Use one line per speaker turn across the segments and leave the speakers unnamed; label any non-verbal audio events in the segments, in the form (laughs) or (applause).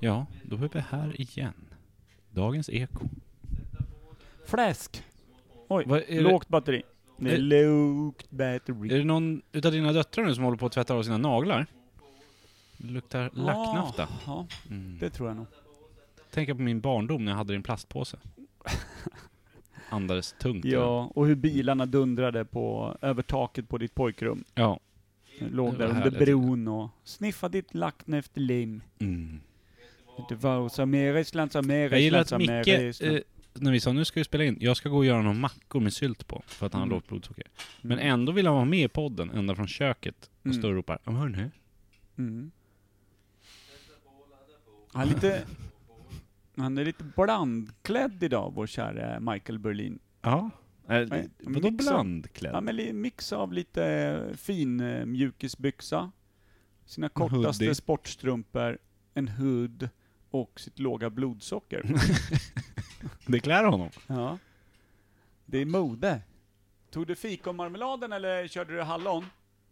Ja, då är vi här igen. Dagens eko.
Fläsk. Oj,
Vad är det-
lågt batteri. Det är
Eh.
lågt
Är
batteri.
det någon utav dina döttrar nu som håller på att tvätta av sina naglar? Det luktar lacknafta.
Ja,
Mm.
det tror jag nog.
Tänker på min barndom när jag hade det i en plastpåse. (laughs) Andades tungt.
Ja, och hur bilarna dundrade på, över taket på ditt pojkrum.
ja.
Låg
Det
där
var
under
härligt.
bron och sniffa ditt lackn efter lim.
Mm.
Det var Sameris, Lansameris,
Jag gillar att Micke,
Lansameris.
eh, när vi sa nu ska vi spela in, jag ska gå och göra några mackor med sylt på, för att han har
Mm.
lågt blodsocker. Men ändå vill han vara med i podden, ända från köket, och
Mm.
står och ropar "Ja, men hör nu.
Mm. Han, är lite, han är lite blandklädd idag, vår kära Michael Berlin.
Ja. Eh,
Nej,
Vadå
mixa. Ja,
blandklädd?
men li- mix av lite eh, fin eh, mjukisbyxa, sina
hoodie.
kortaste sportstrumpor, en hood och sitt
(laughs)
låga blodsocker.
Det klär honom.
ja. Det är mode. Tog du fikonmarmeladen eller körde du hallon?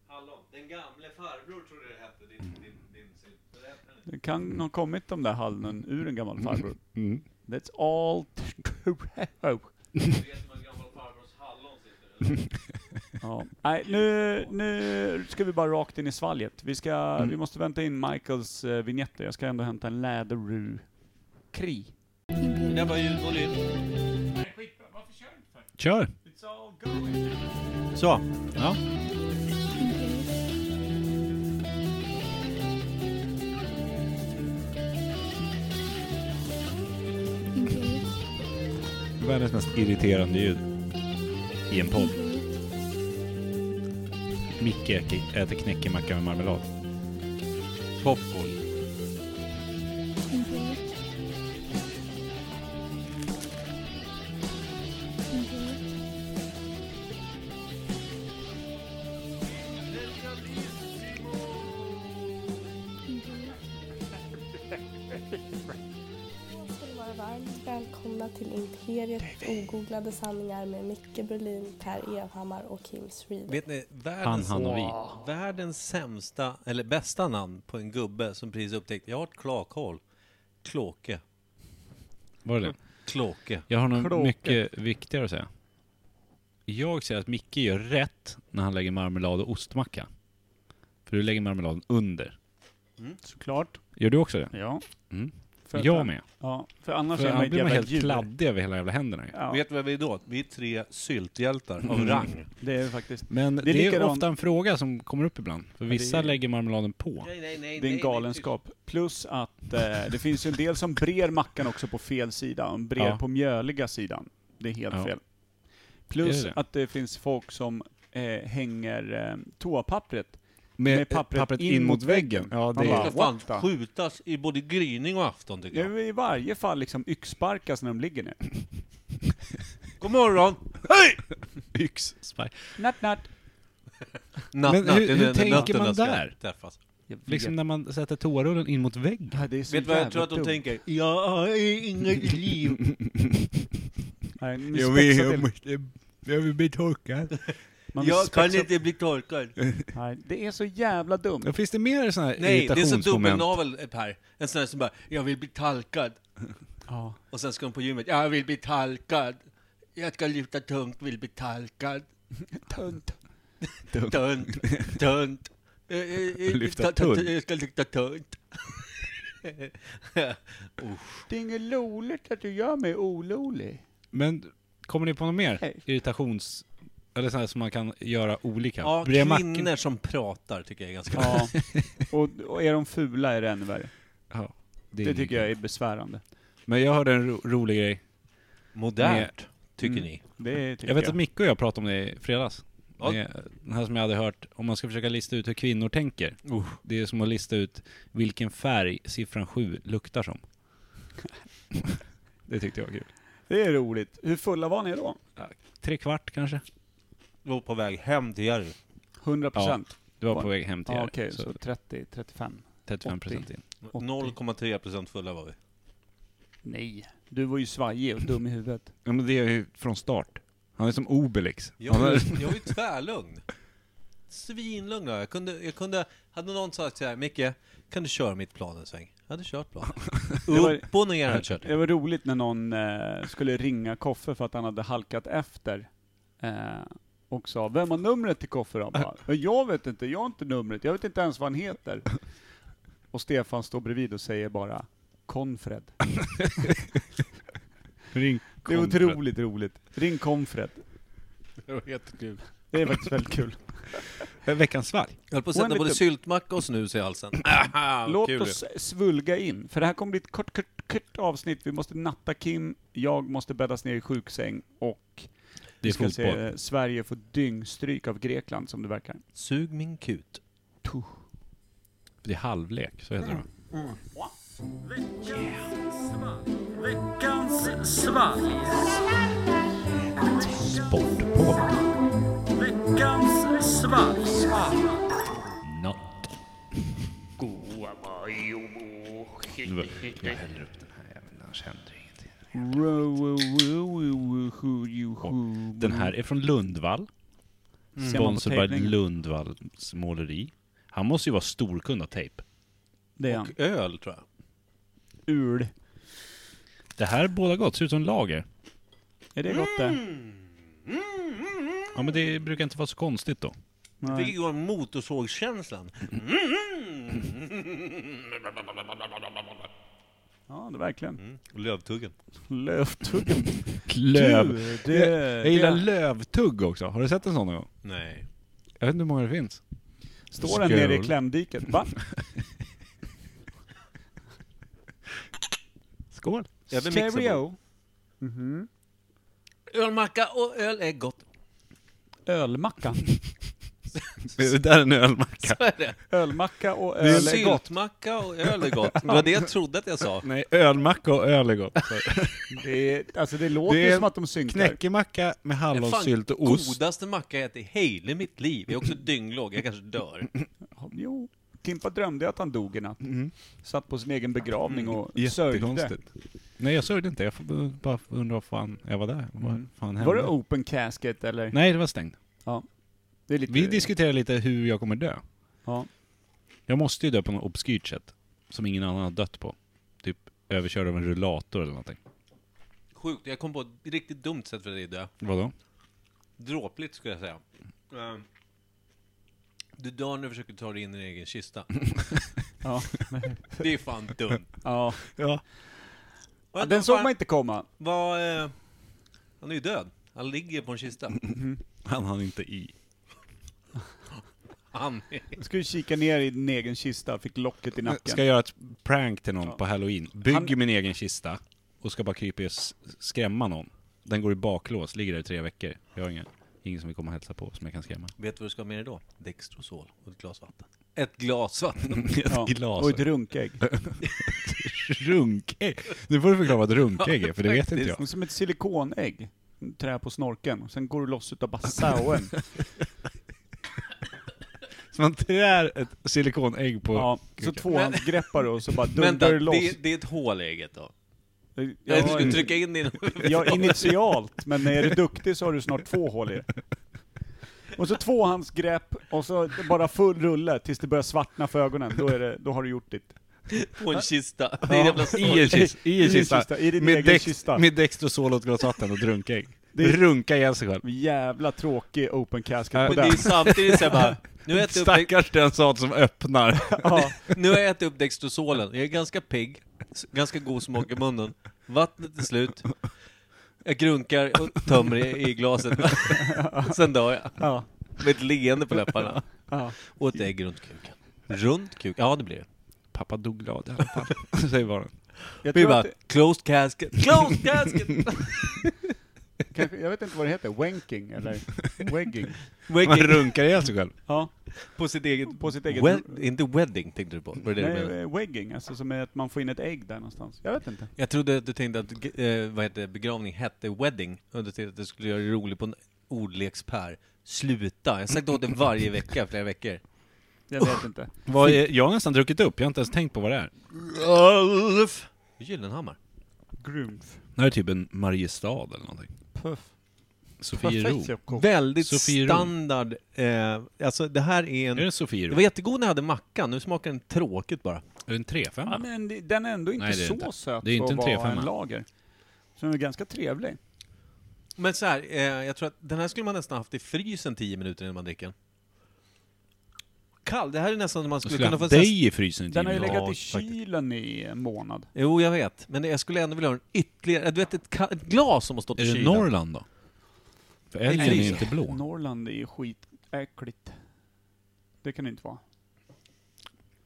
Hallon, den gamle farbror trodde det hette, din, din, din sylt. Men det hette den inte.
Det kan ha kommit de där hallonen ur en gammal farbror.
Mm.
That's all true.
Du vet man gammal farbrors hallon sitter. eller?
Ja. Nej, nu, nu ska vi bara rakt in i svalget. Vi, ska,
Mm.
vi måste vänta in Michaels eh, vignetter. Jag ska ändå hämta en läderru. Kri.
Det där var ljudvolym.
Kör!
Så.
Ja. Världens mest irriterande ljud. I en podd. Micke äter- äter knäckemacka med marmelad.
Popcorn.
ska ni vara varmt välkomna till Imperiet ogooglade sanningar med Micke Berlin, Per Evhammar och Kim Sweden.
Vet ni, världens,
Han, han och vi.
världens sämsta, eller bästa namn på en gubbe som precis upptäckt, jag har ett klakhål. Klåke.
Var det det?
Klåke.
Jag har något
Klåke.
mycket viktigare att säga. Jag säger att Micke gör rätt när han lägger marmelad och ostmacka. För du lägger marmeladen under.
Såklart.
Gör du också det?
Ja.
Mm.
För att-
Jag med.
Ja, för annars
För
är man
annars
ett
blir man
jävla
helt
djur.
kladdig över hela jävla händerna ju.
Ja,
Vet du vad vi är då? Vi är tre sylthjältar av
Mm.
rang.
det är faktiskt.
Men det är,
likadant-
ofta en fråga som kommer upp ibland. För vissa
det är-
lägger marmeladen på.
Nej, nej, nej,
Det är en galenskap. Plus att eh, det finns ju en del som brer mackan också på fel sida, och en brer
Ja.
på mjöliga sidan. Det är helt
Ja.
fel. Plus
Det är det.
att det finns folk som eh, hänger eh, toapappret.
Med, eh,
Med pappret
pappret, in, mot väggen. Ja,
Han
det
bara,
är...
ska fan
What the-
skjutas i både gryning och afton tycker jag.
Nu I varje fall liksom yxsparkas när de ligger ner.
God morgon!
Yxspark.
Natt, natt!
Natt,
Men
natt,
hur-
det är
hur
när
tänker
nötterna
man
ska
där?
Träffas.
Jag vet.
Liksom när man sätter toarullen in mot
(laughs)
väggen.
ja, det är så
Vet du vad jag tror att de
jävla dumt.
tänker? Jag har inget liv. (laughs)
Nej, ni spetsar till.
måste... Jag vill bli torkad.
Man
jag
spetsar-
kan inte bli torkad.
Nej, det är så jävla dumt.
Ja, finns det mer sådana här
Nej, det är som
irritationsmoment?
dubbelnavel eh, Per. En sån där som bara, jag vill bli talkad.
Ja.
Och sen ska de på gymmet, jag vill bli talkad. Jag ska lyfta tungt, vill bli talkad.
Tunt.
Tunt, tunt. Eh, eh, (laughs) eh,
Lyfta
ta- ta- ta-
tunt.
Jag ska lyfta tunt.
Det är inget roligt att du gör mig orolig.
Men kommer ni på något mer?
Nej.
Irritations... Eller sådana som man kan göra olika?
Ja,
Brer macken-
kvinnor som pratar tycker jag är ganska
Ja. (laughs) Och, och är de fula är det ännu värre.
Ja, är
Det
inget
tycker jag
kul.
är besvärande.
Men jag hörde en ro rolig grej.
Modernt, tycker
Mm.
ni?
Det tycker
Jag
jag.
vet att Micke och jag pratade om det i fredags.
Ja.
Med Den här som jag hade hört, om man ska försöka lista ut hur kvinnor tänker. Det är som att lista ut vilken färg siffran 7 luktar
(laughs)
som. det tyckte jag var kul.
Det är roligt. Hur fulla var ni då?
Tre kvart kanske?
var på väg hem till Jerry.
100 procent?
Du var på väg hem till
Ja,
er,
okej.
så
Så 30, 35?
35% in.
0,3% fulla var vi.
Nej. Du var ju svajig och dum i huvudet.
Ja men det är ju från start. Han är som Obelix.
Jag var, jag var ju tvärlugn. Svinlugn var jag. jag. Kunde, jag kunde, hade någon sagt så här, Micke, kan du köra mitt plan en sväng? Jag hade kört bra.
var-
Upp och ner
Jag
hade
har
jag
kört.
kört.
Det var roligt när någon eh, skulle ringa Koffe för att han hade halkat efter. Eh, och sa, vem har numret till Koffe då? Bara, "Men jag vet inte, jag har inte numret, jag vet inte ens vad han heter. Och Stefan står bredvid och säger bara, Konfred.
(laughs) Ring
Det är otroligt roligt. Ring Konfred.
Det var jättekul.
Det är faktiskt väldigt kul.
Eh, Veckans svalg.
Jag höll på att
Och en
sätta både
liten-
syltmacka och snus i halsen. Aha, vad
Låt
kul det är.
oss svulga in, för det här kommer bli ett kort, kort, kort avsnitt. Vi måste natta Kim, jag måste bäddas ner i sjuksäng och
Det
vi
är
ska
fotboll.
se eh, Sverige få dyngstryk av Grekland som det verkar.
Sug min kut.
Det är halvlek, så heter det. va? Sportpodd.
Veckans svalg.
Not. Goa Jag häller upp den här jäveln, annars händer ingenting. Den här Mm. är från Lundvall.
Ser man på
Sponsor by
tävlingen.
Lundvalls måleri. Han måste ju vara storkund av tejp.
Det är han.
Och öl tror jag.
Ul.
Det här båda gott, ser ut som lager.
Är det gott det?
Ja men det brukar inte vara så konstigt då.
Fick igår motorsågskänslan.
Ja, det är verkligen.
Och lövtuggen.
Lövtuggen.
Löv.
Du, det,
Jag gillar
det-
lövtugg också. Har du sett en sån någon gång?
Nej.
Jag vet inte hur många det finns.
Står den nere i
Skål.
klämdiket? Va?
Skål.
Jag vill mixa på.
Cheerio.
Ölmacka och öl är gott.
Ölmacka.
Det där är en ölmacka.
Så är det.
Ölmacka och öl
det
är gott.
Syltmacka och öl är gott. Det var det jag trodde att
(laughs)
jag sa.
Nej, ölmacka och öl är (laughs) gott.
Det, är, alltså det låter
Det är
ju som att de synkar.
Knäckemacka med
Det är fan
hallonsylt och ost.
godaste macka jag ätit i hela mitt liv. Jag är också dynglåg, jag
(clears throat)
kanske dör.
Jo. Kimpa drömde att han dog i natt. Satt på sin egen begravning och sörjde.
Mm, Jättekonstigt. Nej jag sörjde inte, jag får- bara undrar vad fan jag Mm. var där. Vad fan hände?
Var det open casket eller?
Nej det var stängt.
Det är lite,
Vi diskuterade lite hur jag kommer dö.
ja.
Jag måste ju dö på något obskyrt sätt. Som ingen annan har dött på. Typ överkörd av en rullator eller någonting.
Sjukt, jag kom på ett riktigt dumt sätt för dig att dö.
Vadå?
Dråpligt skulle jag säga. Ehm, Du dör när du försöker ta dig in i din egen kista.
Ja.
Det är fan dumt.
(laughs) ja.
Ja.
Ja, Den såg man inte komma.
Vad... eh, Han är ju död. Han ligger på
(laughs)
en kista.
Han hann inte i.
Han är...
Jag skulle kika ner i din egen kista, fick locket i
Eh, Ska jag
nacken.
göra ett prank till någon på halloween. Bygger min egen kista och ska bara krypa i och s- skrämma någon. Den går i baklås, ligger där i tre veckor. Jag har ingen, ingen som vill komma och hälsa på som jag kan skrämma. (laughs)
Vet du vad du ska ha med dig då? Dextrosol och ett glas vatten. Ett
(laughs)
glas vatten.
Ja.
glas.
Och ett runkägg.
Runkägg! Nu får du förklara vad ett runkägg är, för det vet inte jag.
Som ett silikonägg. Trä på snorken. Och Sen går du loss utav bassauen.
(laughs) Så man trär ett silikonägg på...
Ja, så tvåhandsgreppar du och så
(laughs)
bara
Vänta,
dundrar du loss.
det, det är ett hål i ägget då.
Ja,
Jag skulle trycka in din...
Ja, initialt, men
(laughs)
är du duktig så har du snart två hål i det. Och så tvåhandsgrepp, och så bara full rulle tills det börjar svartna för ögonen. Då, är det, då har du gjort ditt.
på en kista. Det är en jävla
I en kista. I en kista.
I din
med,
egen
dex,
kista.
med Dextrosol och ett glas vatten och ett runkägg.
Det är-
Runka ihjäl sig själv.
Jävla tråkig open casket
Ja,
på
Men Äh, det
den.
är samtidigt så jag bara, nu har jag ätit upp,
Stackars den sat som öppnar.
Ja,
nu har (laughs) jag ätit upp Dextrosolen, jag är ganska pigg, s- ganska god smak i munnen, vattnet är slut, jag grunkar och tömmer i, i glaset, (laughs) sen dör jag.
ja,
Med ett leende på läpparna.
ja.
Och ett ägg runt kuken. Runt kuken? Ja det blir det.
Pappa dog glad i alla fall, (laughs) säger barnen.
Jag,
Vi
tror att,
bara,
det-
closed casket,
(laughs)
closed casket!
kanske, jag vet inte vad det heter, wanking eller
(laughs)
wegging.
Man
Wedding,
runkar ihjäl sig själv.
Ja,
på sitt eget...
på sitt eget...
Wed, inte wedding tänkte du på? Var det det du menade?
Nej, wegging, alltså som är att man får in ett ägg där någonstans. Jag vet inte.
Jag trodde att du tänkte att eh, vad heter, det, begravning hette wedding. Och du tänkte att du skulle göra det roligt på en ordlekspär. Sluta! Jag har sagt åt dig varje vecka, flera veckor.
Jag vet inte.
Vad är, jag har nästan druckit upp, jag har inte ens tänkt på vad det är.
Ulf! Gyllenhammar.
Grumf.
Det här är typ en Mariestad eller någonting.
Puff.
Sofiero.
Väldigt
Sofiero.
standard. Eh, alltså det här är
Är
en...
det en
Det
Sofiero?
var jättegod när jag hade mackan, nu smakar den tråkigt bara.
Är det en 3-5?
Men det- den är ändå inte
Nej, det är
så
inte.
söt
Det är inte
för
en
att vara
3-5.
en lager. Så den är ganska trevlig.
Men så här, eh, jag tror att den här skulle man nästan haft i frysen 10 minuter innan man dricker den. Kall, det här är nästan som man
Jag
skulle
skulle
kunna få...
haft dig i frysen i tio
Den har ju
minuter.
legat i
faktiskt.
kylen i en månad.
Jo, jag vet. Men jag skulle ändå vilja ha en ytterligare... Du vet, ett, ka- ett glas som har stått i
Är det
kylen.
Norrland då? För älgen är
frysen.
inte blå.
Norrland är ju skitäckligt. Det kan det inte vara.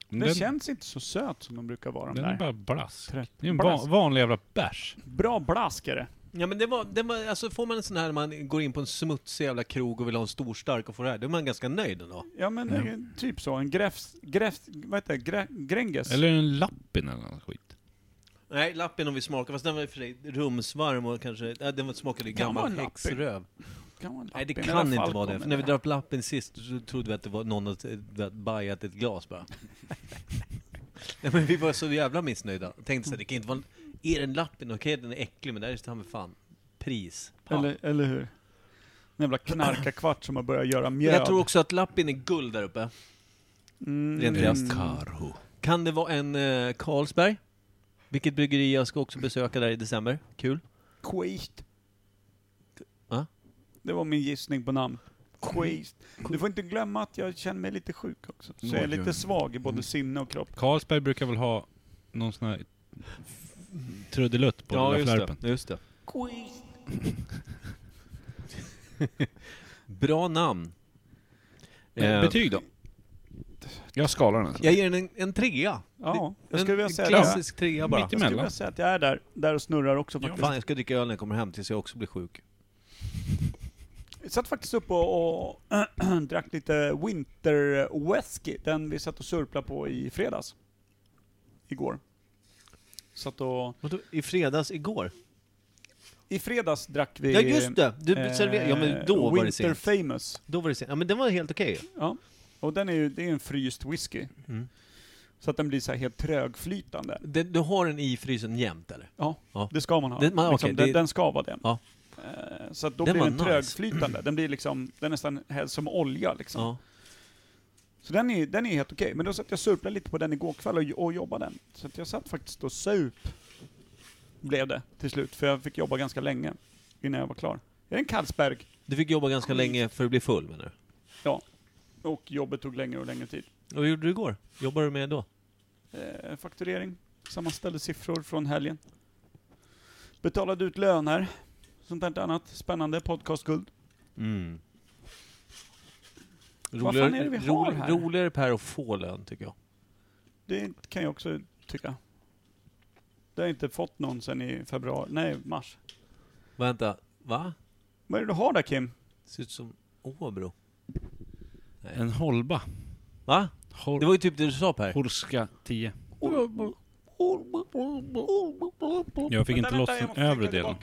Men
Den,
Den,
känns inte så söt som de brukar vara de
den är
där.
bara blask.
Trött.
Det är en
Blask.
va vanlig jävla bärs.
Bra blask är det.
Ja men det var, det var, alltså får man en sån här, man går in på en smutsig jävla krog och vill ha en stor stark och får det här, då är man ganska nöjd ändå.
Ja men det är typ så. En gräfs... gräfs vad heter det? Grä, Gränges.
Eller en lappin eller något skit.
Nej, lappen om vi smakar, fast den var i och för sig rumsvarm och kanske, äh, den smakade
Kan vara en lappin.
gammal häxröv.
Kan vara en
Nej det
lappin.
kan
Eller
inte
Falcon
vara det, för
eller-
när vi drar upp lappen sist så trodde vi att det var någon hade eh, du vet, bajat ett glas (laughs) bara. Nej men vi var så jävla missnöjda. Tänkte såhär, det kan inte vara, en- är den lappen, okej den är äcklig men där är det ta mig fan pris.
Eller, eller hur? En jävla knarkarkvart som har börjat göra mjöd.
Jag tror också att lappen är guld där uppe.
Mm.
Rent krasst.
Karo.
Kan det vara en eh, Carlsberg? Vilket bryggeri jag ska också besöka där i december. Kul.
Quist.
Va?
Det var min gissning på namn. Quist. Du får inte glömma att jag känner mig lite sjuk också. Så jag är
Oj, oj,
lite
oj.
svag i
Mm.
både sinne och kropp.
Carlsberg brukar väl ha någon sån här trudelutt på ja, lilla flärpen.
det. Just det.
Quist.
(laughs) Bra namn.
Eh,
Eh,
Betyg då? Jag skalar den.
jag ger den en, en trea.
Ja, jag
En
skulle vilja säga att jag,
klassisk trea bara.
Mitt
jag skulle
emellan.
vilja säga att jag är där, där och snurrar också faktiskt.
Fan, jag ska dricka öl när jag kommer hem tills jag också blir sjuk.
Jag satt faktiskt upp och, (clears throat) och drack lite Winter Whisky, den vi satt och surplade på i fredags. Igår. Satt och...
Vadå, I fredags, igår?
I fredags drack vi...
ja just det! Du
eh,
serverade... Ja men då var det
Winter
sent.
Famous.
Då var det sent. Ja men den var helt okej.
Ja. Och den är ju, det är ju en fryst whisky.
Mm.
Så att den blir så här helt trögflytande.
Den- Du har den i frysen jämt eller?
Ja,
Ja.
det ska man ha. Liksom,
Det- man- okej,
den,
det-
den ska vara det.
Ja.
Eh, Så att då
Den
blir
var
den
nice.
trögflytande. Den blir liksom, den är nästan helt som olja liksom.
Ja.
Så den är, den är helt okej. Men då satt jag och surplade lite på den igår kväll och, och jobbade den. Så att jag satt faktiskt och sup. Blev det till slut. För jag fick jobba ganska länge. Innan jag var klar. Jag är en Carlsberg.
Du fick jobba ganska länge för att bli full menar
Och jobbet tog längre och längre tid.
du? Och Vad gjorde du igår? Jobbade du med då?
Eh, fakturering. Sammanställde siffror från helgen. Betalade ut löner. Sånt där annat. Spännande. Podcastguld.
Mm.
Vad fan är det vi har här?
roligare Per att få lön, tycker jag.
Det kan jag också tycka. Det har jag inte fått någon sen i februari. Nej, mars.
Vänta, va?
Vad är det du har där Kim?
Ser ut som Åbro.
En Holba.
Va?
Hol
Det var ju typ det du sa Per.
Horska 10. Jag fick inte loss den övre delen.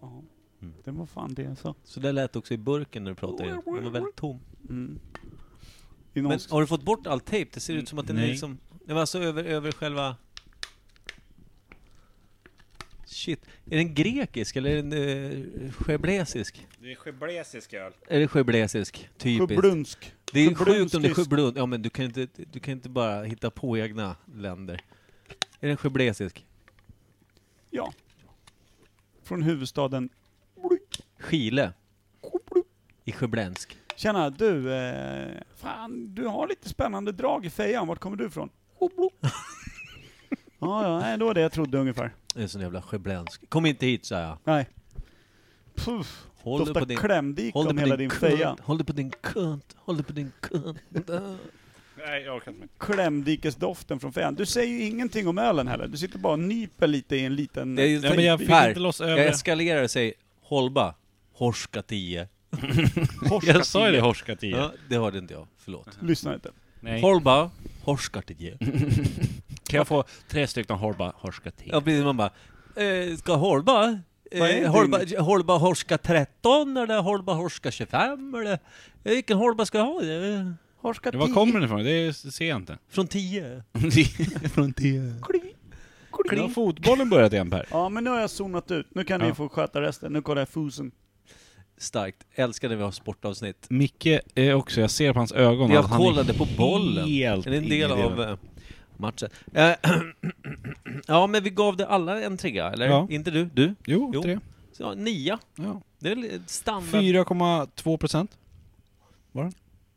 Ja.
Mm.
Det var fan det jag sa.
Så det lät också i burken när du pratade. igen. Den var väldigt tom.
Mm. I någon
Men har du fått bort all tejp? Det ser ut som att den är
Nej.
liksom... Det var alltså över, över själva... Shit. Är den grekisk eller är den eh, schablesisk?
Det är cheblesisk öl.
Är det schablesisk? Typiskt.
Sjöblunsk.
Det är
Sjöblunsk
sjukt om det är
fisk.
sjöblund. Ja men du kan inte, du kan inte bara hitta på egna länder. Är den sjöblesisk?
Ja. Från huvudstaden.
Chile? I Sjöblensk?
Tjena, du, eh, fan, du har lite spännande drag i fejan. Vart kommer du ifrån? ja, ja, nej, det var det jag trodde ungefär.
Det är en sån jävla Sjöblensk. Kom inte hit sa jag.
Nej. Puff,
Håll dig på
doftar
din...
klämdik
Håll dig
om
på
hela
din
din feja.
kunt. Håll dig på din kunt. Håll dig på din kunt.
Nej, jag orkar inte mer.
Klämdikesdoften från fejan. Du säger ju ingenting om ölen heller. Du sitter bara och nyper lite i en liten...
Det är ju-
Ja, men jag fick
Per,
inte loss
Jag
övre.
eskalerar och säger Holba.
(laughs)
Horska 10.
Jag sa ju det, Horska 10.
Ja, det hörde inte jag. Förlåt.
Lyssna inte.
Nej.
Holba. Horska 10.
Kan jag få tre stycken Holba Horska 10?
Ja, precis. Man bara, eh, ska Holba?
Vad är
Eh, Holba,
din-
Holba Horska 13 eller Holba Horska 25 eller? Eh, Vilken Holba ska jag ha? Eh,
Horska
Var kommer den ifrån? Det ser jag inte.
Från 10?
Från 10. Nu har
kling.
fotbollen börjat igen Per.
Ja, men nu har jag zonat ut. Nu kan ni
Ja.
få sköta resten. Nu kollar jag fusen.
Starkt. Älskar när vi har sportavsnitt.
Micke är också, jag ser på hans ögon
Jag
att han är
kollade på bollen.
Helt
Det är en del
inne i det.
av eh, matchen. Eh, (clears throat) ja, men vi gav det alla en trea, eller?
Ja.
Inte du? Du?
Jo,
Jo.
tre.
Så, ja, nia.
Ja.
Det är väl ett standard.
4,2 procent.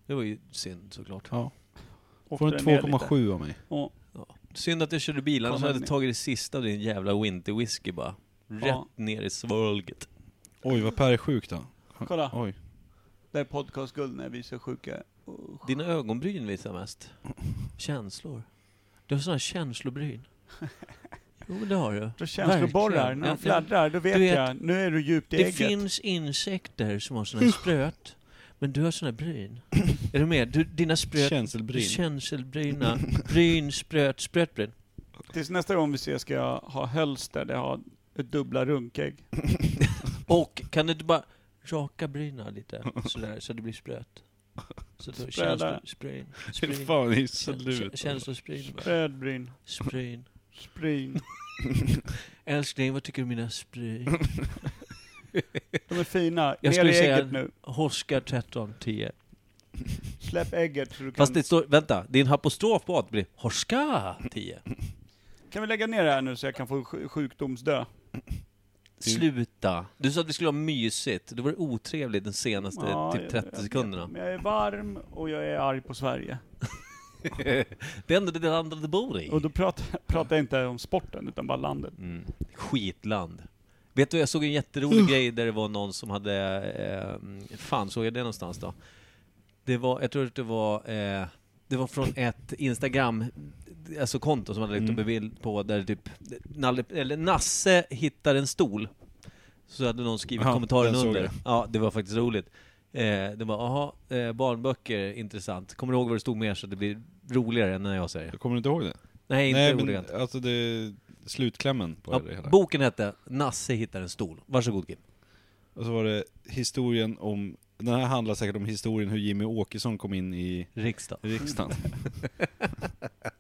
Det var ju synd såklart.
Ja.
Och
Får en
den ner lite.
2,7 av mig.
Ja,
Synd att jag körde bilen, så
Kolla
hade jag
ner.
tagit det sista av din jävla winter whisky bara. Rätt
Ja.
ner i svalget.
Oj, vad Per är sjuk då.
Kolla.
Oj.
det är podcastguld när vi är så sjuka. Usch.
Dina ögonbryn visar mest. Känslor. Du har sådana känslobryn. Jo, men det har du.
Då känsloborrar, när
Ja,
de fladdrar, då vet,
Du vet-
jag. Nu är du djupt i
Det
ägget.
finns insekter som har såna här spröt, men du har såna här bryn. Är du med? Du, dina spröt...
Känselbryn.
Känselbryna. Bryn, spröt, sprötbryn.
Tills nästa gång vi ses ska jag ha hölster där jag har ett dubbla runkägg.
Och kan du inte bara raka bryna lite sådär så det blir spröt? Så
Spröda.
då känslor- spryn,
Fy
spryn,
Fan, ni är så
kän-
lurt.
Känslorspryn. bara.
Brödbryn,
Spryn.
sprin.
Älskling, vad tycker du om mina (laughs) spryn?
De är fina.
(laughs)
Ner
Jag skulle
i
säga-
ägget nu.
Hoskar 1310.
Släpp ägget så du kan...
Fast det står, vänta, det är en apostrof på att det blir Horska 10.
Kan vi lägga ner det här nu så jag kan få sj- sjukdomsdö?
Sluta. Du sa att vi skulle ha mysigt. Det var det otrevligt de senaste
Ja,
typ
jag-
30
jag vet.
sekunderna. (laughs)
Men jag är varm och jag är arg på Sverige.
det är ändå det andra du bor i.
Och då pratar, (laughs) pratar jag inte om sporten, utan bara landet.
Mm. Skitland. Vet du, jag såg en jätterolig
Mm.
grej där det var någon som hade... Eh, fan, såg jag det någonstans då? Det var, jag tror att det var... Eh, det var från ett Instagram, alltså konto som hade
Mm.
lagt upp en bild på där typ Nalle, eller Nasse hittar en stol. Så hade någon skrivit
Ja,
kommentaren
den såg
under.
jag.
Ja, det var faktiskt roligt. Eh, det var, aha, eh, barnböcker, intressant. Kommer du ihåg vad det stod mer så att det blir roligare än när jag säger? det?
Kommer du inte ihåg det?
Nej, inte
Nej,
ordagrant.
men alltså det... Slutklämmen på det hela.
Ja, boken hette Nasse hittar en stol. Varsågod Kim.
Och så var det historien om... Den här handlar säkert om historien hur Jimmy Åkesson kom in i
Riksdag.
riksdagen.
Det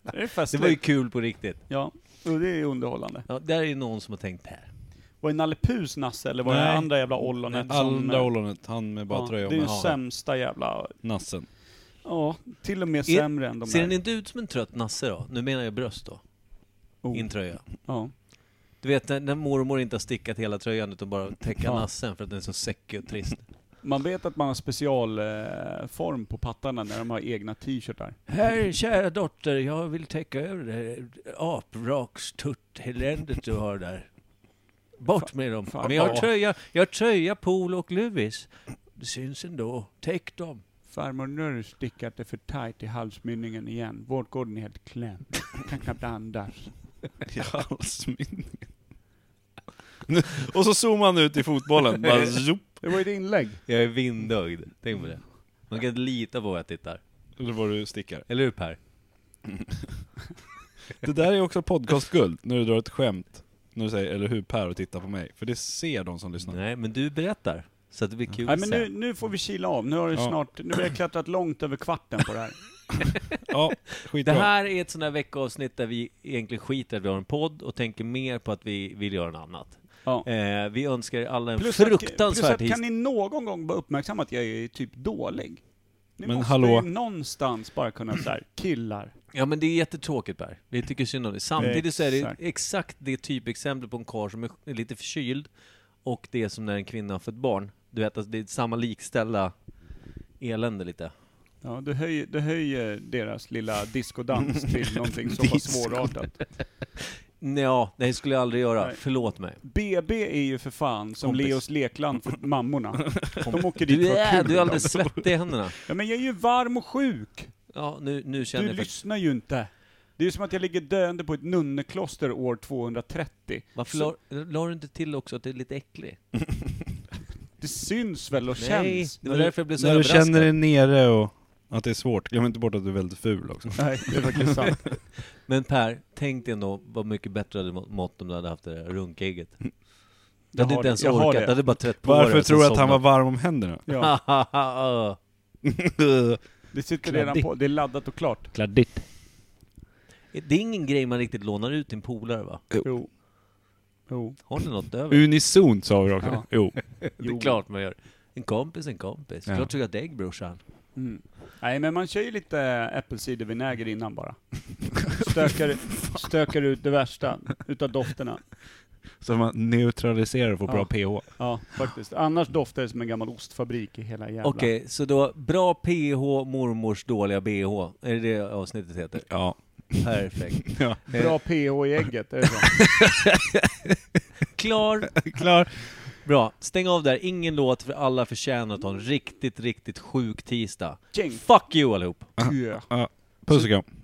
är
Det
festligt.
var ju kul på riktigt.
Ja, och det är underhållande.
Ja, där är ju någon som har tänkt här.
Var det Nalle Puhs Nasse, eller var det
Nej.
andra jävla ollonet? som-
Andra ollonet, han med bara
Ja,
tröja
Det är ju
och
sämsta jävla...
nassen.
Ja, till och med sämre än de
Ser
här.
den inte ut som en trött Nasse då? Nu menar jag bröst då.
Oh,
Inte tröja.
ja.
Du vet när, när mormor inte har stickat hela tröjan utan bara täcka
Ja.
nassen för att den är så säckig och trist.
Man vet att man har specialform eh, form på pattarna när de har egna t-shirtar.
Här kära dotter, jag vill täcka över det här apraksturt-eländet du har där. Bort med dem.
fan,
Men jag har
ja.
tröja, jag har tröja, polo och luvis. Det syns ändå. Täck dem.
Farmor, nu har du stickat det för tight i halsmynningen igen. Vårdgården är helt klämd. Kan knappt andas.
I halsmynningen. (laughs) och så zoomar han ut i fotbollen. Bara zoop.
Det var ju ett inlägg.
Jag är vindögd, tänk på det. Man kan inte lita på att jag tittar.
Eller var du stickar.
Eller hur Per?
Det där är också podcastguld, när du drar ett skämt. När du säger 'Eller hur Per?' och tittar på mig. För det ser de som lyssnar.
Nej, men du berättar. Så att det blir kul
Nej men nu,
sen.
nu får vi kila av. Nu har, det
Ja.
snart, nu har jag klättrat långt över kvarten på det här.
Ja,
Det
skitbra.
här är ett sånt här veckoavsnitt där vi egentligen skiter i att vi har en podd och tänker mer på att vi vill göra något annat.
(laughs) Ja.
Eh, vi önskar er alla en
att- plus
fruktansvärd
att, kan
historia.
ni någon gång vara uppmärksamma att jag är typ dålig? Ni
Men
måste
hallå.
ju någonstans bara kunna såhär, killar.
Ja men det är jättetråkigt Per. Vi tycker synd om det. Samtidigt så är det
Exakt.
exakt det typexempel på en karl som är lite förkyld och det är som när en kvinna har fött barn. Du vet, alltså, det är samma likställa elände lite.
Ja, du höjer, du höjer deras lilla diskodans
(laughs)
till någonting som var svårartat.
Ja, nej skulle jag aldrig göra.
Nej.
Förlåt mig.
BB är ju för fan som
Kompis.
Leos lekland för
(laughs)
mammorna. De åker dit
Du
för att ha
är,
kul.
du är alldeles svettig i händerna.
Ja, men jag är ju varm och sjuk.
Ja, nu, nu
Du
känner jag faktiskt...
lyssnar ju inte. Det är ju som att jag ligger döende på ett nunnekloster år 230.
Varför la, la du inte till också att du är lite äcklig?
Det syns väl och
Nej, (laughs)
känns?
det var
när du-
därför jag blev så
När du
överraskad.
känner dig nere och att det är svårt, glöm inte bort att du är väldigt ful också.
Nej, det är faktiskt sant.
Men Per, tänk dig ändå vad mycket bättre du hade må- mått om du hade haft det där runkägget.
Mm.
Du
Jag
hade
har
inte
det,
ens
jag har
orkat,
det.
du hade bara trätt på det
Varför
och
tror du
sen
att han var varm om (laughs) händerna?
Ah,
Ja,
somnat.
det sitter redan på. Det är laddat och klart.
Kladdigt.
(laughs) Det är ingen grej man riktigt lånar ut till en polare va?
Jo. Jo.
Har ni något över?
Unisont sa vi också.
Ja.
Jo.
Det är klart man gör. En kompis en kompis.
Ja.
Klart tog jag dägg brorsan.
Mm. Nej, men man kör ju lite äppelcidervinäger innan
(laughs)
bara. Stökar, stökar ut det värsta utav dofterna.
Så man neutraliserar och får
Ja.
bra pH.
Ja, faktiskt. Annars doftar det som en gammal ostfabrik i hela jävla...
Okej, så då bra PH, mormors dåliga BH. Är det det avsnittet heter?
Ja.
Perfekt.
(laughs) ja.
Bra pH i ägget, är det så?
Klar!
Klar.
Bra. Stäng av där. Ingen låt för alla förtjänar att ha en riktigt, riktigt sjuk tisdag.
Tjing.
Fuck you allihop!
Kö.
Puss och kram.